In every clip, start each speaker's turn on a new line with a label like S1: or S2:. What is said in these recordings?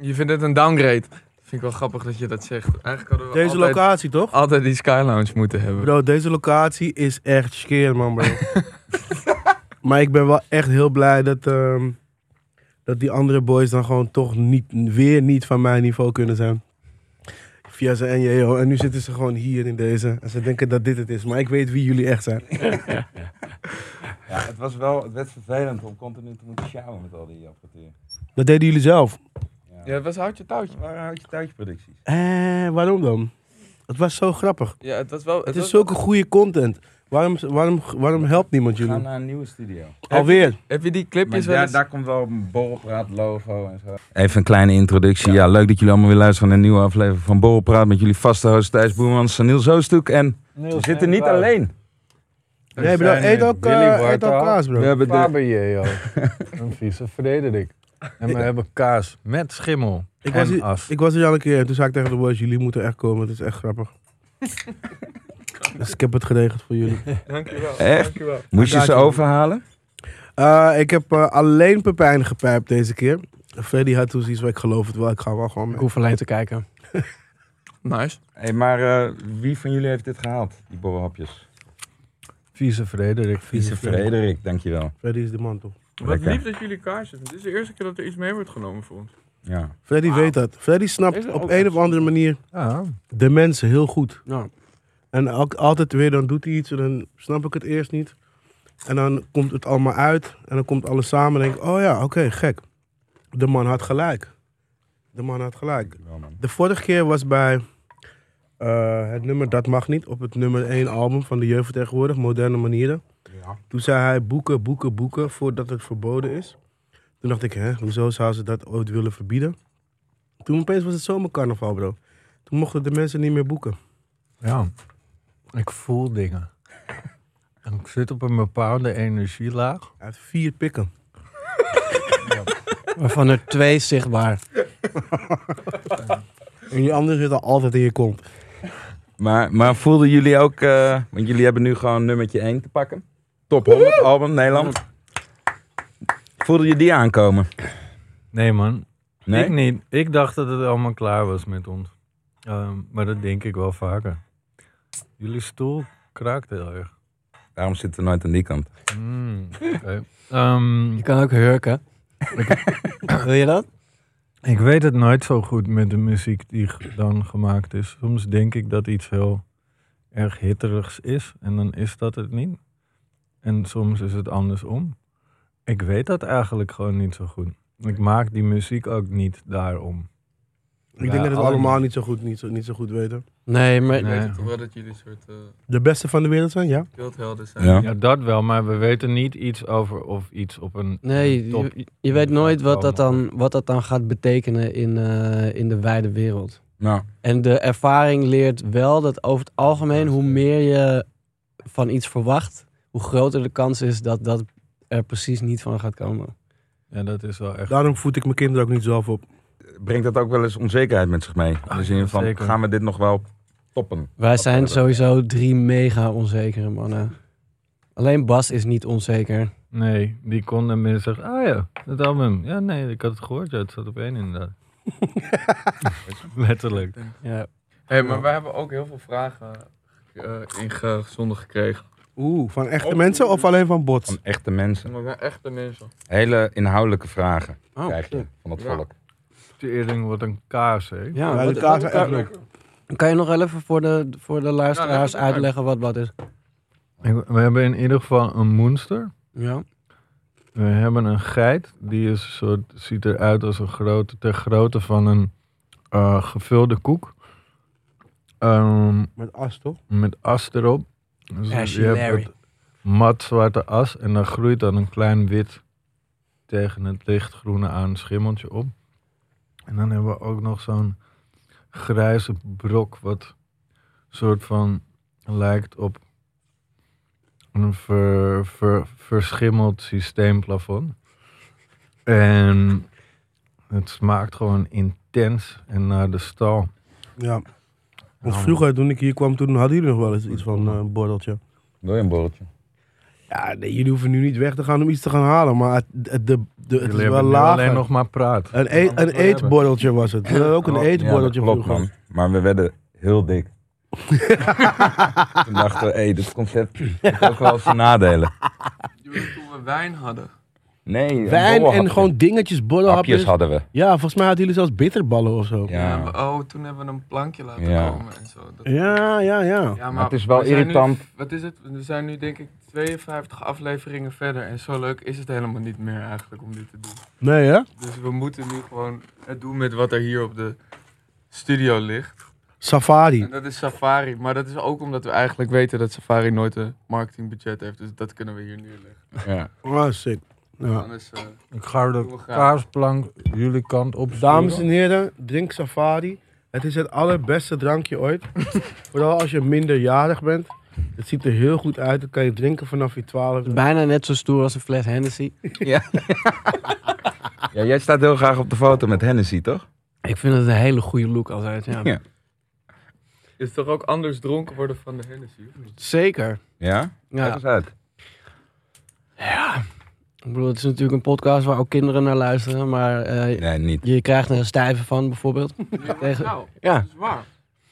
S1: Je vindt het een downgrade. Vind ik wel grappig dat je dat zegt. Eigenlijk hadden we
S2: Deze
S1: altijd,
S2: locatie toch?
S1: altijd die Sky Lounge moeten hebben.
S2: Bro, deze locatie is echt skeer, man, bro. maar ik ben wel echt heel blij dat, ehm, dat die andere boys dan gewoon toch niet, weer niet van mijn niveau kunnen zijn. Via zijn NJO. En nu zitten ze gewoon hier in deze. En ze denken dat dit het is. Maar ik weet wie jullie echt zijn.
S3: Ja, het, was wel, het werd vervelend om continu te moeten sjouwen met al die apparatuur.
S2: Dat deden jullie zelf.
S1: Ja, het was houtje touwtje.
S3: Het waren houtje touwtje producties.
S2: Eh, waarom dan? Het was zo grappig. Het,
S1: Ja, het was wel... Het,
S2: is
S1: was-
S2: zulke goede content. Waarom, waarom, waarom helpt niemand
S3: We gaan
S2: jullie?
S3: naar een nieuwe studio.
S2: Alweer.
S1: Heb je die
S3: Maar
S1: clipjes wel
S3: daar,
S1: eens...
S3: daar komt wel een borrelpraat logo en zo. Even een kleine introductie. Ja. leuk dat jullie allemaal weer luisteren naar een nieuwe aflevering van Borrelpraat met jullie vaste host Thijs Boermans, Saniel Zoostuk en we zitten niet alleen.
S2: Nee, bro, eet ook, eh, eet ook kaas, bro.
S4: We hebben
S3: de-
S4: Fabergé, joh. een vieze Frederik. En we hebben kaas met schimmel
S2: Ik
S4: en
S2: was, hier,
S4: as.
S2: ik was hier al een keer en toen zei ik tegen de boys, jullie moeten echt komen, het is echt grappig. dus ik heb het geregeld voor jullie.
S1: Dankjewel,
S3: Echt?
S1: dankjewel.
S3: Moest je ze overhalen?
S2: Eh, ik heb eh, alleen Pepijn gepijpt deze keer. Freddy had toen zoiets waar ik geloof het wel, ik ga wel gewoon mee.
S5: hoef alleen te kijken.
S1: Nice.
S3: Hey, maar eh, wie van jullie heeft dit gehaald, die borrelhapjes?
S4: Vieze Frederik.
S3: Vieze Frederik, dankjewel.
S2: Freddy is de man toch?
S1: Wat
S3: Lekker.
S1: lief dat jullie kaars hebben. Dit is de eerste keer dat er iets mee wordt genomen voor ons.
S3: Ja.
S2: Freddy weet dat. Freddy snapt
S1: Deze
S2: op
S1: ook
S2: een
S1: wel.
S2: of andere manier
S4: Ja,
S2: de mensen heel goed.
S5: Ja.
S2: En ook altijd weer, dan doet hij iets en dan snap ik het eerst niet. En dan komt het allemaal uit en dan komt alles samen en denk ik, oh ja, oké, gek. De man had gelijk. De man had gelijk.
S3: Dankjewel, man.
S2: De vorige keer was bij eh, het nummer Dat Mag Niet, op het nummer 1 album van de jeugd van tegenwoordig, Moderne Manieren. Toen zei hij boeken, boeken, boeken voordat het verboden is. Toen dacht ik, hè, hoezo zou ze dat ooit willen verbieden? Toen opeens was het zomercarnaval, bro. Toen mochten de mensen niet meer boeken.
S4: ja. Ik voel dingen. En ik zit op een bepaalde energielaag.
S2: Hij heeft vier pikken.
S5: Waarvan er twee zichtbaar.
S2: En die anderen zitten altijd in je kont.
S3: Maar, maar voelden jullie ook, eh, want jullie hebben nu gewoon nummertje 1 te pakken. Top 100 album Nederland. Voelden je die aankomen?
S4: Nee, man. Ik
S3: Nee?
S4: niet. Ik dacht dat het allemaal klaar was met ons. Ehm, maar dat denk ik wel vaker. Jullie stoel kraakt heel erg.
S3: Daarom zitten we nooit aan die kant.
S4: Mm, oké. Ehm,
S5: Je kan ook hurken. Wil je dat?
S4: Ik weet het nooit zo goed met de muziek die g- dan gemaakt is. Soms denk ik dat iets heel erg hitterigs is en dan is dat het niet. En soms is het andersom. Ik weet dat eigenlijk gewoon niet zo goed. Ik maak die muziek ook niet daarom.
S2: Ik denk dat we het
S4: alle-
S2: allemaal niet zo, goed, niet, zo, niet zo goed weten.
S5: Nee, maar
S1: Ik
S4: Nee.
S1: weet het toch wel dat jullie een soort eh
S2: De beste van de wereld zijn, ja?
S1: beeldhelden zijn.
S3: Ja.
S4: Ja, dat wel, maar we weten niet iets over of iets op een
S5: nee,
S4: top.
S5: je, je weet nooit wat dat dan, wat dat dan gaat betekenen in, eh, in de wijde wereld.
S3: Nou,
S5: En de ervaring leert wel dat over het algemeen, hoe meer je van iets verwacht, hoe groter de kans is dat dat er precies niet van gaat komen.
S4: Ja, dat is wel echt.
S2: Daarom voed ik mijn kinderen ook niet zelf op.
S3: brengt dat ook wel eens onzekerheid met zich mee? In de zin van,
S4: zeker.
S3: gaan we dit nog wel toppen?
S5: Wij
S3: Dat
S5: zijn
S3: hebben we.
S5: sowieso drie mega onzekere mannen. Alleen Bas is niet onzeker.
S4: Nee, die kon dan meer zeggen. Ah ja, dat album. Ja, nee, ik had het gehoord. Ja, het zat op één inderdaad. Letterlijk.
S5: Ja,
S1: Hey, maar wij hebben ook heel veel vragen eh ingezonden gekregen.
S2: Oeh, van echte mensen of alleen van bots?
S3: Oh. Van echte mensen.
S1: Maar wij echte mensen.
S3: Hele inhoudelijke vragen
S5: Oh,
S3: krijg je van het
S1: Ja.
S3: volk.
S4: Tering wordt een kaas, hè?
S5: Ja,
S2: Ja,
S5: wat-
S2: de kaas
S5: wat-
S2: zijn echt leuk.
S5: kan je nog wel even voor de, voor de luisteraars
S1: Ja, dat-
S5: uitleggen wat wat is?
S4: Ik- We hebben in ieder geval een monster.
S5: Ja.
S4: We hebben een geit. Die is een soort, ziet eruit als een grote, ter grootte van een eh, gevulde koek. Ehm,
S2: Met as, toch?
S4: met as erop. Dus
S5: Ashy
S4: je hebt
S5: Larry.
S4: het mat zwarte as. En daar groeit dan een klein wit tegen het lichtgroene aan schimmeltje op. En dan hebben we ook nog zo'n grijze brok, wat soort van lijkt op een ver, ver- verschimmeld systeemplafond. En het smaakt gewoon intens en naar de stal.
S2: Ja.
S3: Nou,
S2: Want vroeger, toen ik hier kwam, toen hadden jullie nog wel eens iets van eh, een bordeltje.
S3: Wil je een borreltje?
S2: Ja, nee, jullie hoeven nu niet weg te gaan om iets te gaan halen, maar het, het, de, de, het
S4: Jullie
S2: is
S4: hebben
S2: wel
S4: nu alleen
S2: lager.
S4: nog maar praat.
S2: Een, e- een eetbordeltje was het. We hadden ook een
S3: Ja, dat
S2: eetbordeltje
S3: klopt
S2: vroeger.
S3: man. Maar we werden heel dik. Toen dachten we, hé, dit concept heeft ook wel zijn nadelen.
S1: Je bedoelt toen we wijn hadden.
S3: Nee, een
S2: Wijn en
S3: borrelhapje.
S2: gewoon dingetjes,
S3: hapjes
S2: bordelhapjes.
S3: hadden we.
S2: Ja, volgens mij hadden jullie zelfs bitterballen of zo.
S3: Ja.
S1: Ja, maar- oh, toen hebben we een plankje laten
S3: Ja.
S1: komen en zo. Dat-
S2: Ja, ja, ja.
S1: Ja,
S3: Maar het is wel
S1: we zijn nu-
S3: irritant.
S1: wat is het? We zijn nu denk ik 52 afleveringen verder en zo leuk is het helemaal niet meer eigenlijk om dit te doen.
S2: Nee, hè?
S1: Dus we moeten nu gewoon het doen met wat er hier op de studio ligt.
S2: Safari.
S1: En dat is Safari, maar dat is ook omdat we eigenlijk weten dat Safari nooit een marketingbudget heeft. Dus dat kunnen we hier neerleggen.
S3: Ja.
S2: Oh, sick. Ja.
S1: Anders, eh,
S4: Ik ga
S1: Doen we
S4: de
S1: graag.
S4: kaasplank jullie kant op.
S2: Dames en heren, drink Safari. Het is het allerbeste drankje ooit. Vooral als je minderjarig bent. Het ziet er heel goed uit. Dat kan je drinken vanaf je 12.
S5: Bijna net zo stoer als een fles Hennessy.
S3: ja, jij staat heel graag op de foto met Hennessy, toch?
S5: Ik vind het een hele goede look altijd. Ja.
S3: Ja.
S1: is toch ook anders dronken worden van de Hennessy? of niet?
S5: Zeker.
S3: Ja?
S5: Ja.
S3: Kijk eens uit.
S5: Ik bedoel, het is natuurlijk een podcast waar ook kinderen naar luisteren. Maar eh,
S3: Nee, niet.
S5: je krijgt er een stijve van bijvoorbeeld. Tegen-
S1: Nou,
S5: Ja.
S1: dat is waar.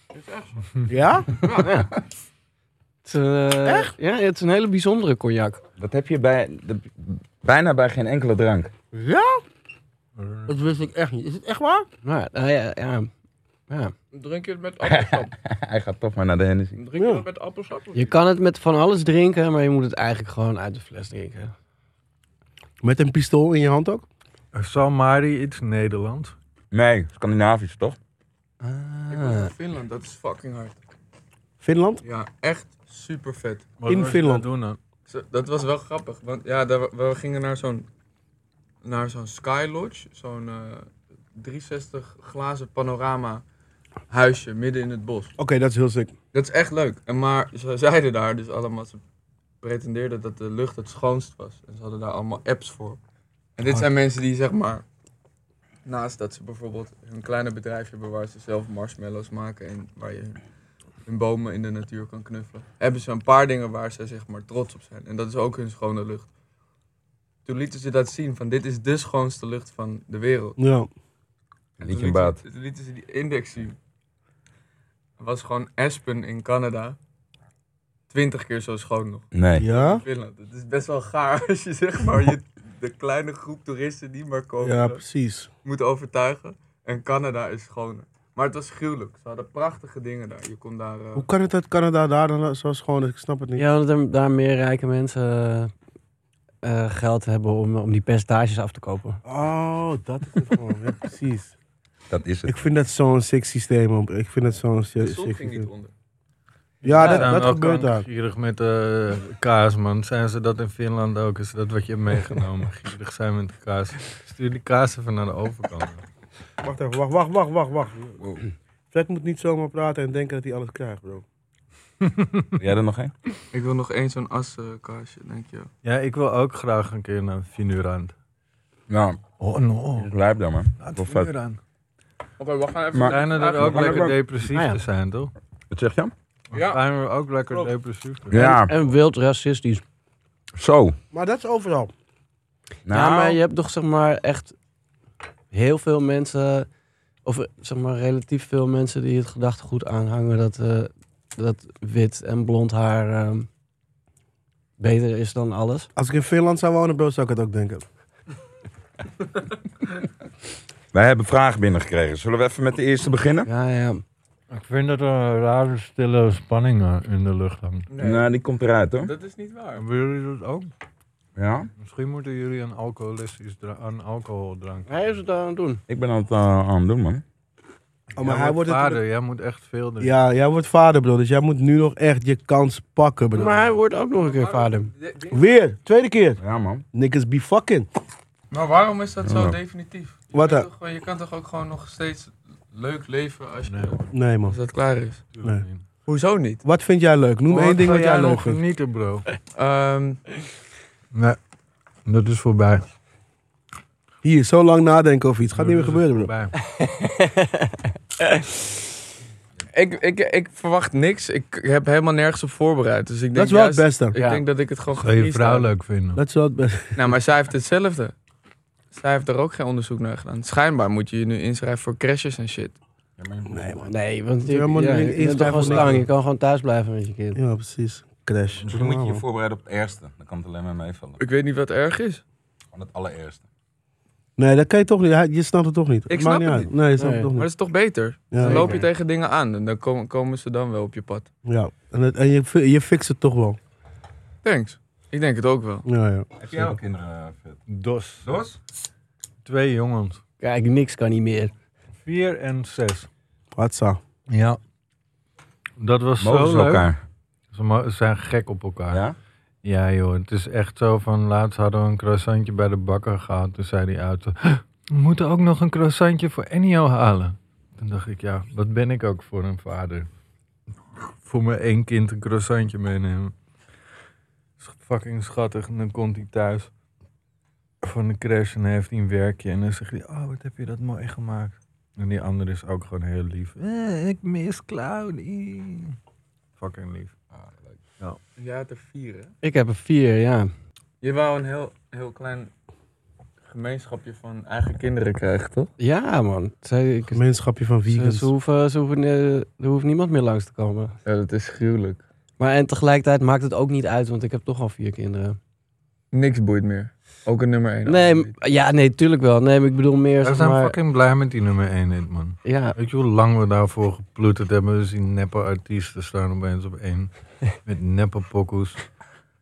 S1: Dat is echt zo.
S5: Hm.
S2: Ja?
S5: Het, is, eh, Ja, het is een hele bijzondere cognac.
S3: Dat heb je bij, de- bijna bij geen enkele drank.
S2: Ja? Dat wist ik echt niet. Is het echt waar?
S5: Maar, eh, ja, ja, ja.
S1: Drink je het met appelsap?
S3: Hij gaat toch maar naar de Hennessy.
S1: Drink je het met appelsap? of
S5: Je kan het met van alles drinken, maar je moet het eigenlijk gewoon uit de fles drinken.
S2: Met een pistool in je hand ook?
S4: Zal Mari iets Nederlands?
S3: Nee, Scandinavisch, toch?
S1: Ik was in Finland, dat is fucking hard.
S2: Finland?
S1: Ja, echt super vet.
S4: Wat
S2: In
S4: wil je
S2: Finland.
S4: dat Doen dan?
S1: Zo- Dat was wel grappig, want ja, daar, we gingen naar zo'n naar zo'n Sky Lodge, zo'n eh, 360 glazen panorama huisje midden in het bos.
S2: Oké, dat is heel sick.
S1: Dat is echt leuk. En maar ze zeiden daar dus allemaal, ze pretendeerden dat de lucht het schoonst was. En ze hadden daar allemaal apps voor. En dit zijn mensen die zeg maar, naast dat ze bijvoorbeeld hun kleine bedrijfje hebben waar ze zelf marshmallows maken en waar je hun bomen in de natuur kan knuffelen, hebben ze een paar dingen waar ze zeg maar trots op zijn. En dat is ook hun schone lucht. Toen lieten ze dat zien van dit is de schoonste lucht van de wereld.
S2: Ja.
S1: En
S3: Liedje
S1: toen
S3: in
S1: lieten
S3: baat.
S1: ze- toen lieten ze die index zien. Het was gewoon Aspen in Canada. Twintig keer zo schoon nog.
S3: Nee.
S2: Ja?
S1: In Finland. Het is best wel gaar als je zeg maar je, de kleine groep toeristen die maar komen
S2: Ja, precies.
S1: moet overtuigen. En Canada is schoner. Maar het was gruwelijk. Ze hadden prachtige dingen daar. Je kon daar... eh,
S2: Hoe kan het dat Canada daar dan zo schoon is? Ik snap het niet.
S5: Ja, omdat er, daar meer rijke mensen eh, eh, geld hebben om, om die percentages af te kopen.
S2: Oh, dat is het gewoon. Ja, precies.
S3: Dat is het.
S2: Ik vind dat zo'n sick systeem. man. Ik vind dat zo'n
S1: de zon
S2: sick sick
S1: ging
S2: systeem.
S1: niet onder.
S2: Ja, dat,
S4: Zijn
S2: dat
S4: we ook
S2: gebeurt daar.
S4: Gierig met eh, kaas, man. Zijn ze dat in Finland ook? Is dat wat je hebt meegenomen? Gierig zijn met de kaas. Stuur die kaas even naar de overkant.
S2: Wacht even, wacht, wacht, wacht, wacht, wacht. Fred moet niet zomaar praten en denken dat hij alles krijgt, bro.
S3: Wil jij er nog een?
S1: Ik wil nog eens zo'n askaasje, denk je.
S4: Ja, ik wil ook graag een keer naar Finurand.
S3: Nou,
S4: Oh no.
S3: blijf dan maar. Of wat?
S1: Oké, we gaan even...
S3: Maar-
S4: Schijnen er ook Nou
S3: Maar-
S4: lekker
S3: Maar-
S4: depressief
S5: Ah, ja.
S4: te zijn, toch?
S3: Wat zeg je?
S1: Ja.
S4: Zijn we ook lekker
S1: Klopt.
S4: depressief? te zijn?
S3: Ja,
S5: En wild racistisch.
S3: zo.
S2: Maar dat is overal.
S3: Nou,
S5: Ja, maar je hebt toch zeg maar echt heel veel mensen, of eh, zeg maar relatief veel mensen die het gedachtegoed aanhangen dat, eh, dat wit en blond haar eh, beter is dan alles.
S2: Als ik in Finland zou wonen, bro, zou ik het ook denken. Oh,
S3: wij hebben vragen binnengekregen. Zullen we even met de eerste beginnen?
S5: Ja, ja.
S4: Ik vind dat er een rare stille spanning eh, in de lucht hangt.
S1: Nee,
S3: Nou, die komt eruit hoor.
S1: dat is niet waar.
S4: Hebben jullie dat ook?
S3: Ja.
S4: Misschien moeten jullie een alcoholistisch dra- een alcohol dranken.
S5: Hij is het aan het doen.
S3: Ik ben aan het eh, aan het doen, man.
S2: Oh, maar hij wordt
S4: vader,
S2: natuurlijk-
S4: jij moet echt veel drinken.
S2: Ja, jij wordt vader, bro. Dus jij moet nu nog echt je kans pakken, bro.
S5: Maar hij wordt ook nog een keer vader.
S2: Weer, tweede keer.
S3: Ja, man.
S2: Nick is be fucking.
S1: Maar waarom is dat zo
S3: Ja.
S1: definitief?
S2: Wat
S1: Je,
S2: dan?
S1: kan toch, gewoon- je kan toch ook gewoon nog steeds leuk leven als je
S4: Nee, hoor.
S2: Nee, man.
S1: als dat klaar is.
S2: Nee.
S1: Hoezo niet?
S2: Wat vind jij leuk? Noem één ding wat jij leuk vindt.
S4: Genieten, bro.
S1: Ehm,
S4: Nee, dat is voorbij.
S2: Hier, zo lang nadenken over iets. Gaat niet meer
S4: Dat is
S2: gebeuren, bro.
S4: voorbij.
S1: ik, ik, ik verwacht niks. Ik heb helemaal nergens op voorbereid. Dus ik denk
S2: Dat is wel het
S1: juist-
S2: beste.
S1: Ik
S5: Ja.
S1: denk dat ik het gewoon
S4: Zou je
S1: gefreestyled
S4: vrouw
S1: heb.
S4: leuk vinden?
S2: Dat is wel het beste.
S1: Nou, maar zij heeft hetzelfde. Zij heeft er ook geen onderzoek naar gedaan. Schijnbaar moet je je nu inschrijven voor crashes en shit.
S2: Nee, man.
S5: Nee, want je,
S2: Ja, maar
S5: ja,
S2: in-
S5: je bent
S2: inschrijven
S5: toch gewoon
S2: voor
S5: slang.
S2: niks.
S5: Je kan gewoon thuis blijven met je kind.
S2: Ja, precies. Crash.
S3: Dus dan moet je je voorbereiden op het ergste. Dan kan het alleen maar meevallen.
S1: Ik weet niet wat erg is.
S3: Gewoon het allereerste.
S2: Nee, dat kan je toch niet. Hij- Je snapt het toch niet. Het
S1: snap
S2: maakt niet
S1: het
S2: uit. Nee, je snapt het
S5: Nee.
S2: toch
S1: Maar
S2: niet.
S1: dat is toch beter?
S2: Ja,
S1: Dan loop je
S5: Zeker.
S1: tegen dingen aan en dan komen, komen ze dan wel op je pad.
S2: ja. En, het- en je, fi- je fixt het toch wel.
S1: Thanks. Ik denk het ook wel.
S2: Ja, ja.
S3: Heb jij ook
S6: eh,
S3: kinderen? Fit?
S4: Dos.
S3: Dos?
S4: Twee jongens.
S5: Kijk, niks kan niet meer.
S4: Vier en zes.
S2: Hatsa.
S4: Ja. Dat was
S3: Mogen
S4: zo
S3: ze
S4: leuk.
S3: elkaar?
S4: Ze mo- ze zijn gek op elkaar.
S3: Ja?
S4: Ja joh, het is echt zo van laatst hadden we een croissantje bij de bakker gehad. Toen zei die auto, we moeten ook nog een croissantje voor Ennio halen. Toen dacht ik, ja, wat ben ik ook voor een vader? Voor mijn één kind een croissantje meenemen. Is fucking schattig. En dan komt hij thuis van de crash en hij heeft hij een werkje. En dan zegt hij, oh wat heb je dat mooi gemaakt. En die andere is ook gewoon heel lief. "Eh, ik mis Claudie. Fucking lief.
S1: Jij had er vier, hè?
S5: Ik heb er vier, ja.
S1: Je wou een heel, heel klein gemeenschapje van eigen kinderen krijgen, toch?
S5: Ja, man. Zij, ik,
S2: Gemeenschapje van
S5: ze,
S2: vegans.
S5: ze hoeven, ze hoeven, eh, er hoeft niemand meer langs te komen.
S1: Ja, dat is gruwelijk.
S5: Maar en tegelijkertijd maakt het ook niet uit, want ik heb toch al vier kinderen.
S1: Niks boeit meer. Ook een nummer één.
S5: Nee, m- ja, nee, tuurlijk wel. Nee, maar ik bedoel meer,
S4: We
S5: zeg
S4: zijn
S5: maar...
S4: fucking blij met die nummer 1 hit, man.
S5: Ja,
S4: Weet je hoe lang we daarvoor geploeterd hebben? Dus die neppe artiesten staan opeens op één. Met neppe pokoes.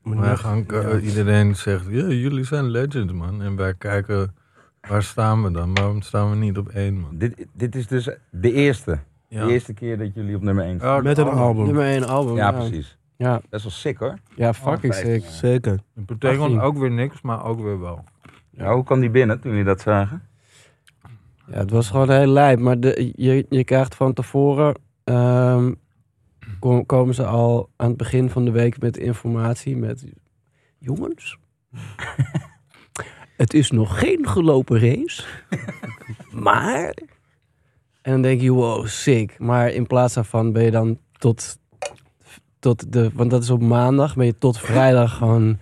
S2: Maar
S4: Wij
S2: net-
S4: gaan,
S2: ja.
S4: eh, Iedereen zegt, ja, jullie zijn legend, man. En wij kijken, waar staan we dan? Waarom staan we niet op één, man?
S3: Dit, dit is dus de eerste. De eerste keer dat jullie op nummer 1 staan.
S2: Met een album.
S5: nummer één album.
S3: ja, precies.
S5: Ja,
S3: Dat is wel sick hoor.
S5: ja fucking
S3: Oh,
S5: sick.
S3: vijftien,
S2: Zeker.
S4: Het betekent
S5: 18.
S4: ook weer niks, maar ook weer wel.
S3: ja. Ja, hoe kwam die binnen toen jullie dat zagen?
S5: Ja, het was gewoon heel lijp. Maar de, je, je krijgt van tevoren... ehm, kom- komen ze al aan het begin van de week met informatie met... Jongens, het is nog geen gelopen race. maar... En dan denk je, wow, sick. Maar in plaats daarvan ben je dan tot... tot de, want dat is op maandag. Ben je tot vrijdag gewoon...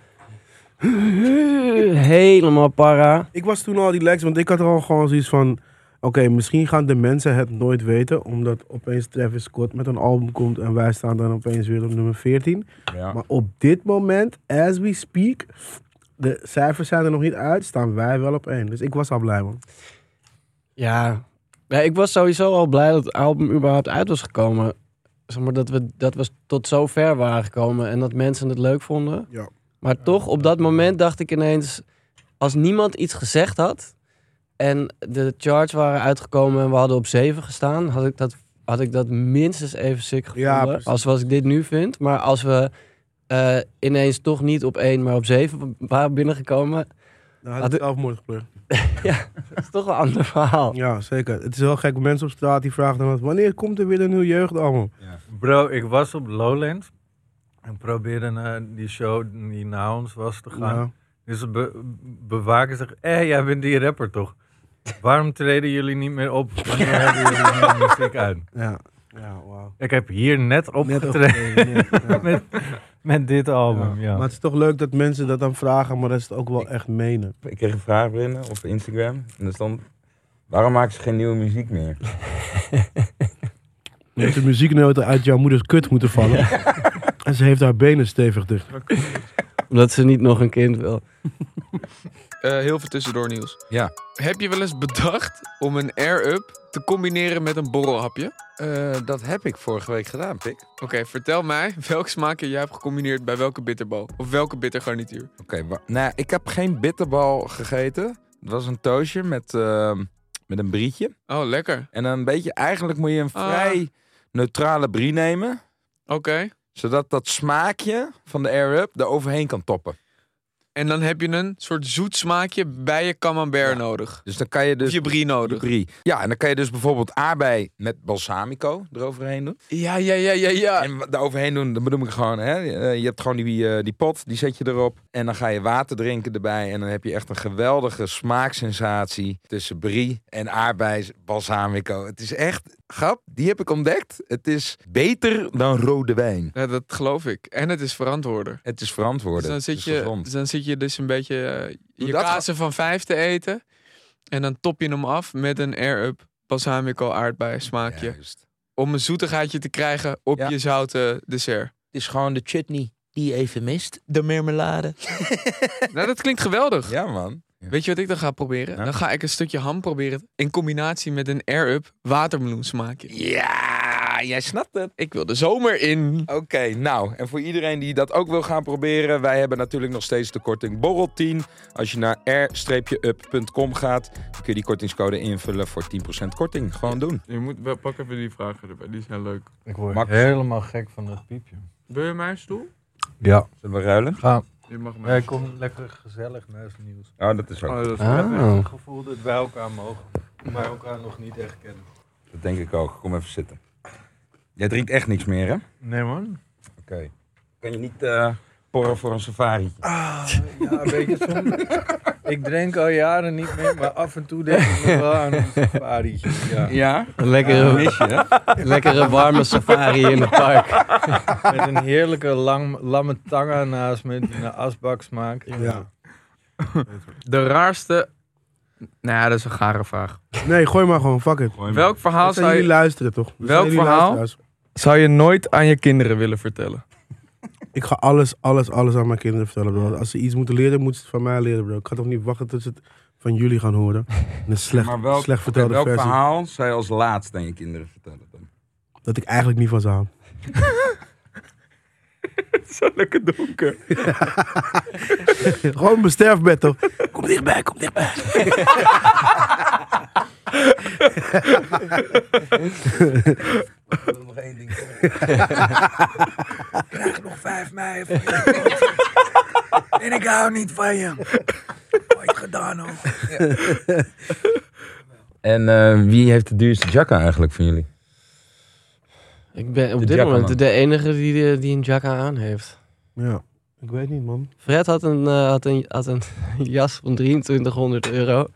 S5: Helemaal para.
S2: Ik was toen al relaxed, want ik had al gewoon zoiets van... Oké, misschien gaan de mensen het nooit weten, omdat opeens Travis Scott met een album komt en wij staan dan opeens weer op nummer 14.
S3: Ja.
S2: Maar op dit moment, as we speak, de cijfers zijn er nog niet uit, staan wij wel op één. Dus ik was al blij, man.
S5: Ja. ja, ik was sowieso al blij dat het album überhaupt uit was gekomen. Zeg maar dat we, dat we tot zo ver waren gekomen en dat mensen het leuk vonden.
S2: Ja.
S5: Maar toch, op dat moment dacht ik ineens, als niemand iets gezegd had en de charts waren uitgekomen en we hadden op 7 gestaan, had ik dat, had ik dat minstens even sick
S2: Ja,
S5: gevonden
S2: precies.
S5: als wat ik dit nu vind. Maar als we eh, ineens toch niet op 1, maar op 7 waren binnengekomen,
S2: Dan had
S5: Had
S2: ik
S5: ik-
S2: zelfmoord gepleegd.
S5: dat is toch een ander verhaal.
S2: Ja, zeker. Het is wel gek, mensen op straat die vragen dan... altijd, Wanneer komt er weer een nieuw jeugdalbum?
S4: Bro, ik was op Lowlands. En probeerde naar die show die na ons was te gaan.
S2: Ja.
S4: Dus de be- bewaker zegt, hé, jij bent die rapper toch? Waarom treden jullie niet meer op? Wanneer hebben jullie meer muziek uit?
S2: Ja, ja wauw.
S4: Ik heb hier net
S2: Net
S4: opgetreden
S2: opgetreden, ja.
S4: met, met dit album, ja.
S2: Maar het is toch leuk dat mensen dat dan vragen, maar dat ze het ook wel echt menen.
S3: Ik kreeg een vraag binnen op Instagram. En daar stond, waarom maken ze geen nieuwe muziek meer?
S2: Je hebt de muzieknoten uit jouw moeders kut moeten vallen. En ze heeft haar benen stevig dicht.
S5: Omdat ze niet nog een kind wil.
S1: Eh, heel veel tussendoor nieuws.
S3: Ja.
S1: Heb je wel eens bedacht om een air-up te combineren met een borrelhapje?
S6: Eh, dat heb ik vorige week gedaan, Pik.
S1: Oké, vertel mij welk smaakje jij hebt gecombineerd bij welke bitterbal of welke bittergarnituur.
S6: Oké, wa- nou, ik heb geen bitterbal gegeten. Het was een toastje met, ehm, met een brietje.
S1: Oh, lekker.
S6: En dan een beetje, eigenlijk moet je een
S1: Ah.
S6: vrij neutrale brie nemen.
S1: Oké.
S6: Zodat dat smaakje van de air-up er overheen kan toppen.
S1: En dan heb je een soort zoet smaakje bij je camembert nodig.
S3: Dus dan kan je
S1: Of
S3: dus...
S1: je brie nodig.
S3: Brie. Ja, en dan kan je dus bijvoorbeeld aardbei met balsamico eroverheen doen.
S1: Ja, ja, ja, ja, ja.
S3: En wat daaroverheen doen, dan bedoel ik gewoon, hè, eh, je hebt gewoon die, eh, die pot, die zet je erop. En dan ga je water drinken erbij. En dan heb je echt een geweldige smaaksensatie tussen brie en aardbei, balsamico. Het is echt, grap, die heb ik ontdekt. Het is beter dan rode wijn.
S1: Ja, dat geloof ik. En het is verantwoorder.
S3: Het is
S1: Dus
S3: verantwoorden.
S1: dan,
S3: Het
S1: zit
S3: is
S1: je,
S3: gezond.
S1: dus dan zit je dus een beetje eh, je
S3: dat
S1: kazen van vijf te eten. En dan top je hem af met een air-up balsamico aardbei smaakje.
S3: Juist.
S1: Om een zoetigheidje te krijgen op
S3: Ja.
S1: je zoute dessert.
S7: Het is gewoon de chutney die je even mist. De mermelade.
S1: nou, dat klinkt geweldig.
S3: Ja, man.
S1: Weet je wat ik dan ga proberen?
S3: Nou?
S1: Dan ga ik een stukje ham proberen in combinatie met een air-up watermeloen smaakje.
S3: Ja, jij snapt het.
S1: Ik wil de zomer in.
S3: Oké, nou, en voor iedereen die dat ook wil gaan proberen, wij hebben natuurlijk nog steeds de korting Borrel10. Als je naar r-up.com gaat, dan kun je die kortingscode invullen voor 10% korting. Gewoon doen.
S8: Je moet, wel- pak even die vragen erbij, die zijn leuk.
S4: Ik word
S3: Max.
S4: helemaal gek van dat piepje.
S8: Wil je mijn stoel?
S4: Ja,
S3: Zullen we ruilen?
S4: ga.
S8: Je mag mijn
S4: Wij komen lekker gezellig naast nieuws.
S3: Oh, dat is ook.
S8: Oh, dat is prettig.
S5: Ah.
S4: Het gevoel dat wij elkaar mogen, maar elkaar nog niet echt kennen.
S3: Dat denk ik ook. Kom even zitten. Jij drinkt echt niks meer, hè? Oké.
S4: Nee man.
S3: Kan je niet eh, porren voor een safari?
S4: Ja, weet je, soms, ik drink al jaren niet meer, maar af en toe denk ik nog wel aan een safarietje. Ja.
S3: Ja,
S5: Een lekkere,
S3: mis je, hè?
S5: lekkere warme safari in het park.
S4: Met een heerlijke lang, lamme tanga naast me die naar asbak smaakt.
S2: Ja.
S1: De raarste. Nou ja, dat is een gare vraag.
S2: Nee, gooi maar gewoon, fuck it.
S1: Welk verhaal
S2: Dat zijn
S1: zou
S2: jullie
S1: je,
S2: luisteren toch? Dat
S1: Welk
S2: zijn jullie
S1: verhaal?
S2: luisteraars.
S1: zou je nooit aan je kinderen willen vertellen?
S2: Ik ga alles, alles, alles aan mijn kinderen vertellen, bro. Als ze iets moeten leren, moeten ze het van mij leren, bro. Ik ga toch niet wachten tot ze het van jullie gaan horen. Een slecht,
S3: Maar welk,
S2: slecht vertelde
S3: welk
S2: versie.
S3: verhaal zou je als laatst aan je kinderen vertellen? Dan?
S2: Dat ik eigenlijk niet van ze hou.
S1: Zo lekker donker.
S2: Gewoon mijn sterfbed, toch? Kom dichtbij, kom dichtbij.
S3: nog één ding. Krijg nog 5 mei. en ik hou niet van je. Ooit gedaan ook. En eh, wie heeft de duurste jacka eigenlijk van jullie?
S5: Ik ben op
S3: De
S5: dit
S3: Jacka,
S5: moment
S3: man.
S5: de enige die, eh, die een jacka aan heeft.
S2: Ja, ik weet niet, man.
S5: Fred had een, eh, had een, had een jas van 2300 euro.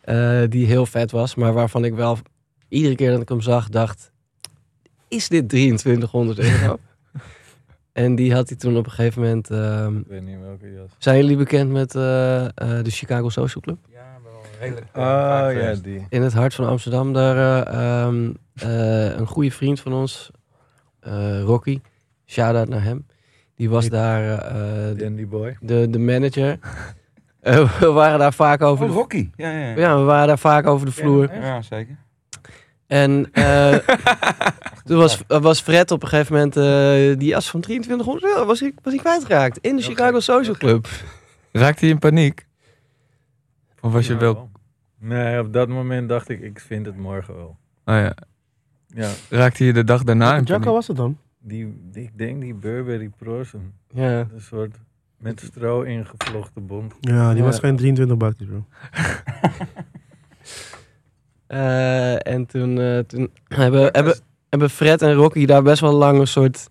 S5: eh, die heel vet was, maar waarvan ik wel iedere keer dat ik hem zag dacht... Is dit 2300 euro? en die had hij toen op een gegeven moment... ehm,
S4: Ik weet niet welke jas.
S5: zijn jullie bekend met eh, eh, de Chicago Social Club?
S3: Ja, wel redelijk.
S4: Oh ja, die.
S5: In het hart van Amsterdam, daar eh, ehm, eh, een goede vriend van ons, eh, Rocky, shout-out naar hem. Die was daar eh, eh, de,
S4: Dandy Boy.
S5: de, de manager. Eh, we waren daar vaak over.
S3: Oh,
S5: De,
S3: hockey. Ja, ja, ja.
S5: ja, we waren daar vaak over de vloer.
S3: Ja, zeker.
S5: En eh toen was, eh, was Fred op een gegeven moment eh, die as van 2300 euro was hij, was hij kwijtgeraakt in de
S4: Heel
S5: Chicago
S4: gek,
S5: Social Club.
S1: Raakte je in paniek? Of was je
S4: Ja,
S1: wel...
S4: wel. Nee, op dat moment dacht ik, ik vind het morgen wel.
S1: Oh ja.
S4: Ja,
S1: Raakte je de dag daarna in
S2: Jacka
S1: paniek?
S2: was het dan?
S4: die, die- ik denk die Burberry Prozen.
S5: Ja.
S4: Een soort met stro ingevlochten bond.
S2: Ja, die
S5: Ja.
S2: was geen 23 bakjes, bro.
S5: Eh, en toen, eh, toen hebben, hebben, hebben Fred en Rocky daar best wel lang een soort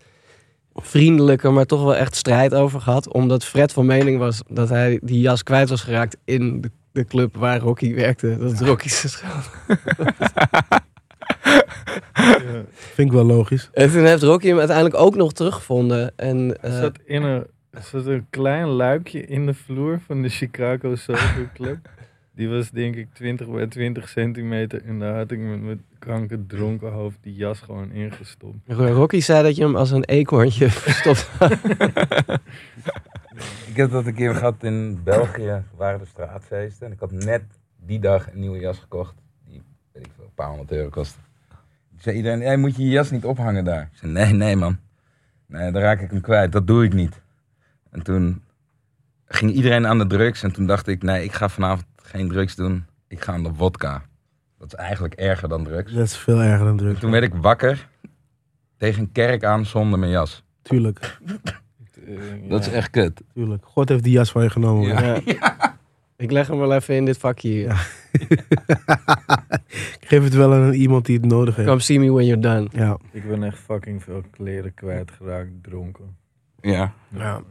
S5: vriendelijke, maar toch wel echt strijd over gehad. Omdat Fred van mening was dat hij die jas kwijt was geraakt in de, de club waar Rocky werkte. Dat is Rocky's dus schuld.
S2: Vind ik wel logisch.
S5: En toen heeft Rocky hem uiteindelijk ook nog teruggevonden. En,
S4: Er
S5: eh,
S4: zat, in een, er zat een klein luikje in de vloer van de Chicago Social Club. Die was denk ik 20 bij 20 centimeter. En daar had ik met mijn kanker dronken hoofd die jas gewoon ingestopt.
S5: Rocky zei dat je hem als een eekhoorntje verstopt.
S3: Ik heb dat een keer gehad in België, waren de straatfeesten. En ik had net die dag een nieuwe jas gekocht. Die, weet ik veel, een paar honderd euro kostte. Ik zei iedereen, hey, moet je je jas niet ophangen daar? Ik zei, nee, nee man. Nee, dan raak ik hem kwijt, dat doe ik niet. En toen ging iedereen aan de drugs. En toen dacht ik, nee, ik ga vanavond geen drugs doen. Ik ga aan de vodka. Dat is eigenlijk erger dan drugs.
S2: Dat is veel erger dan
S3: En
S2: druk.
S3: toen werd ik wakker tegen een kerk aan zonder mijn jas.
S2: Tuurlijk.
S4: eh,
S6: Dat
S4: ja.
S6: is echt kut.
S2: Tuurlijk. God heeft die jas van je genomen.
S6: Ja.
S2: man.
S5: Ja. Ik leg hem wel even in dit vakje hier.
S2: Ik geef het wel aan iemand die het nodig heeft.
S5: Come see me when you're done.
S2: Ja.
S4: Ik ben echt fucking veel kleren kwijtgeraakt, dronken.
S6: Ja.
S2: Ja.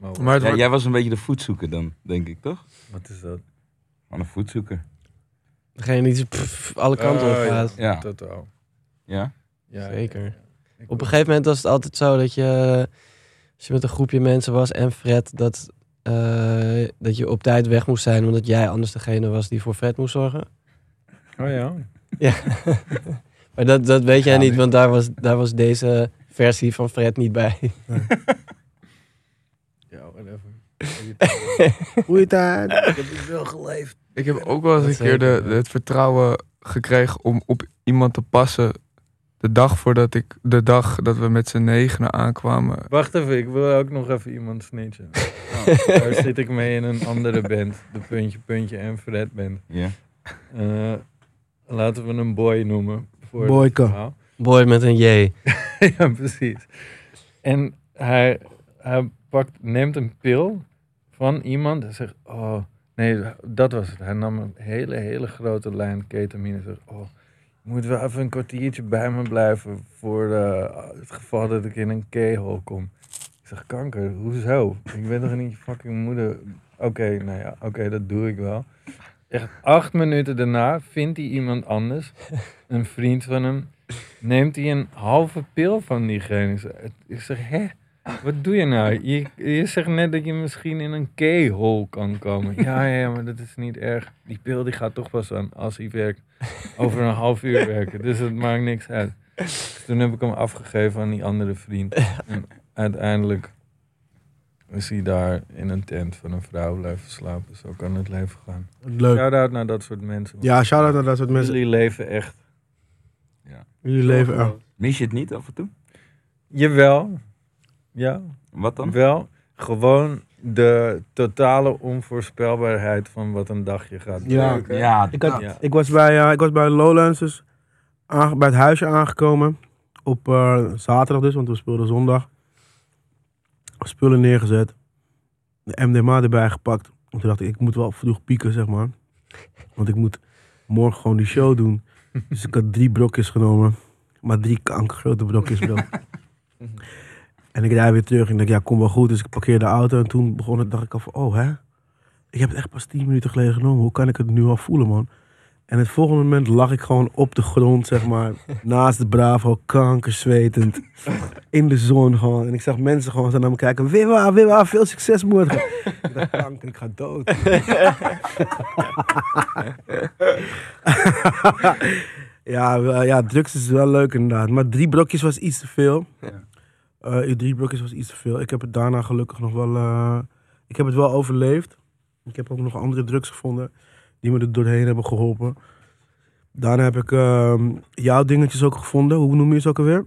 S4: Maar wat,
S1: Maar het
S6: Ja,
S1: wordt-
S6: jij was een beetje de voetzoeker dan, denk ik, toch?
S4: wat is dat?
S6: Van een voetzoeker.
S5: Degene die zo, pff, alle kanten op
S4: Eh,
S5: gaat.
S6: Ja.
S4: Totaal.
S6: Ja.
S4: Ja,
S5: Zeker.
S4: ja, ja. Ik
S5: Op een gegeven moment was het altijd zo dat je, als je met een groepje mensen was en Fred, dat, eh, dat je op tijd weg moest zijn, omdat jij anders degene was die voor Fred moest zorgen.
S4: Oh ja.
S5: Ja. maar dat, dat weet jij
S6: Ja,
S5: niet,
S6: nee.
S5: want daar was, daar was deze versie van Fred niet bij.
S4: Ja, whatever.
S2: Goeie tijd.
S6: Ik heb het wel geleefd.
S1: Ik heb ook wel eens
S5: Dat
S1: een keer de,
S5: zeker,
S1: het vertrouwen gekregen om op iemand te passen. De dag voordat ik, de dag dat we met z'n negenen aankwamen.
S4: Wacht even, ik wil ook nog even iemand snitchen.
S6: Oh.
S4: Daar zit ik mee in een andere band. De Puntje Puntje en Fred band.
S6: Ja.
S4: Eh, laten we een boy noemen. Voor
S2: Boyke.
S4: dit verhaal.
S5: Boy met een J.
S4: ja, precies. En hij, hij pakt, neemt een pil van iemand en zegt, oh, nee, dat was het. Hij nam een hele, hele grote lijn ketamine en zegt, oh, je moet wel even een kwartiertje bij me blijven voor eh, het geval dat ik in een keyhole kom. Ik zeg, kanker, hoezo? Ik ben toch niet je fucking moeder? Oké, nou ja, oké, dat doe ik wel. Echt acht minuten daarna vindt hij iemand anders, een vriend van hem, neemt hij een halve pil van diegene. Ik zeg- Ik zeg, hè? Wat doe je nou? Je, je zegt net dat je misschien in een keyhole kan komen. Ja, ja, ja, maar dat is niet erg. Die pil die gaat toch pas aan als hij werkt. Over een half uur werken. Dus het maakt niks uit. Dus toen heb ik hem afgegeven aan die andere vriend. En uiteindelijk is hij daar in een tent van een vrouw blijven slapen. Zo kan het leven gaan.
S2: Leuk.
S4: Shout-out naar dat soort mensen.
S2: Ja, shout-out naar dat soort mensen.
S4: Jullie leven echt.
S2: Jullie leven er.
S6: Mis je het niet af en toe?
S4: Jawel. Ja.
S6: Wat dan?
S4: Wel, gewoon de totale onvoorspelbaarheid van wat een dagje gaat doen.
S2: Ja.
S6: Ja,
S2: Ik, had,
S4: Ja.
S2: ik, was bij, eh, ik was bij Lowlands, dus aange- bij het huisje aangekomen. Op eh, zaterdag dus, want we speelden zondag. Spullen neergezet. De MDMA erbij gepakt. En toen dacht ik, ik moet wel vroeg pieken, zeg maar. Want ik moet morgen gewoon die show doen. Dus ik had drie brokjes genomen. Maar drie kankergrote brokjes, bro. en ik rijd weer terug en ik dacht, ja, kom wel goed. Dus ik parkeerde de auto en toen begon het, dacht ik al van, oh hè? Ik heb het echt pas tien minuten geleden genomen. Hoe kan ik het nu al voelen, man? En het volgende moment lag ik gewoon op de grond, zeg maar. naast de Bravo, kankerzwetend. In de zon gewoon. En ik zag mensen gewoon zo naar me kijken. Wiwa, Wiwa, veel succes morgen. ik dacht, kanker, ik ga dood. ja, wel- ja, drugs is wel leuk inderdaad. Maar drie brokjes was iets te veel. Eh, drie brokjes was iets te veel. Ik heb het daarna gelukkig nog wel... eh, ik heb het wel overleefd. Ik heb ook nog andere drugs gevonden die me er doorheen hebben geholpen. Daarna heb ik ehm, jouw dingetjes ook gevonden. Hoe noem je ze ook alweer?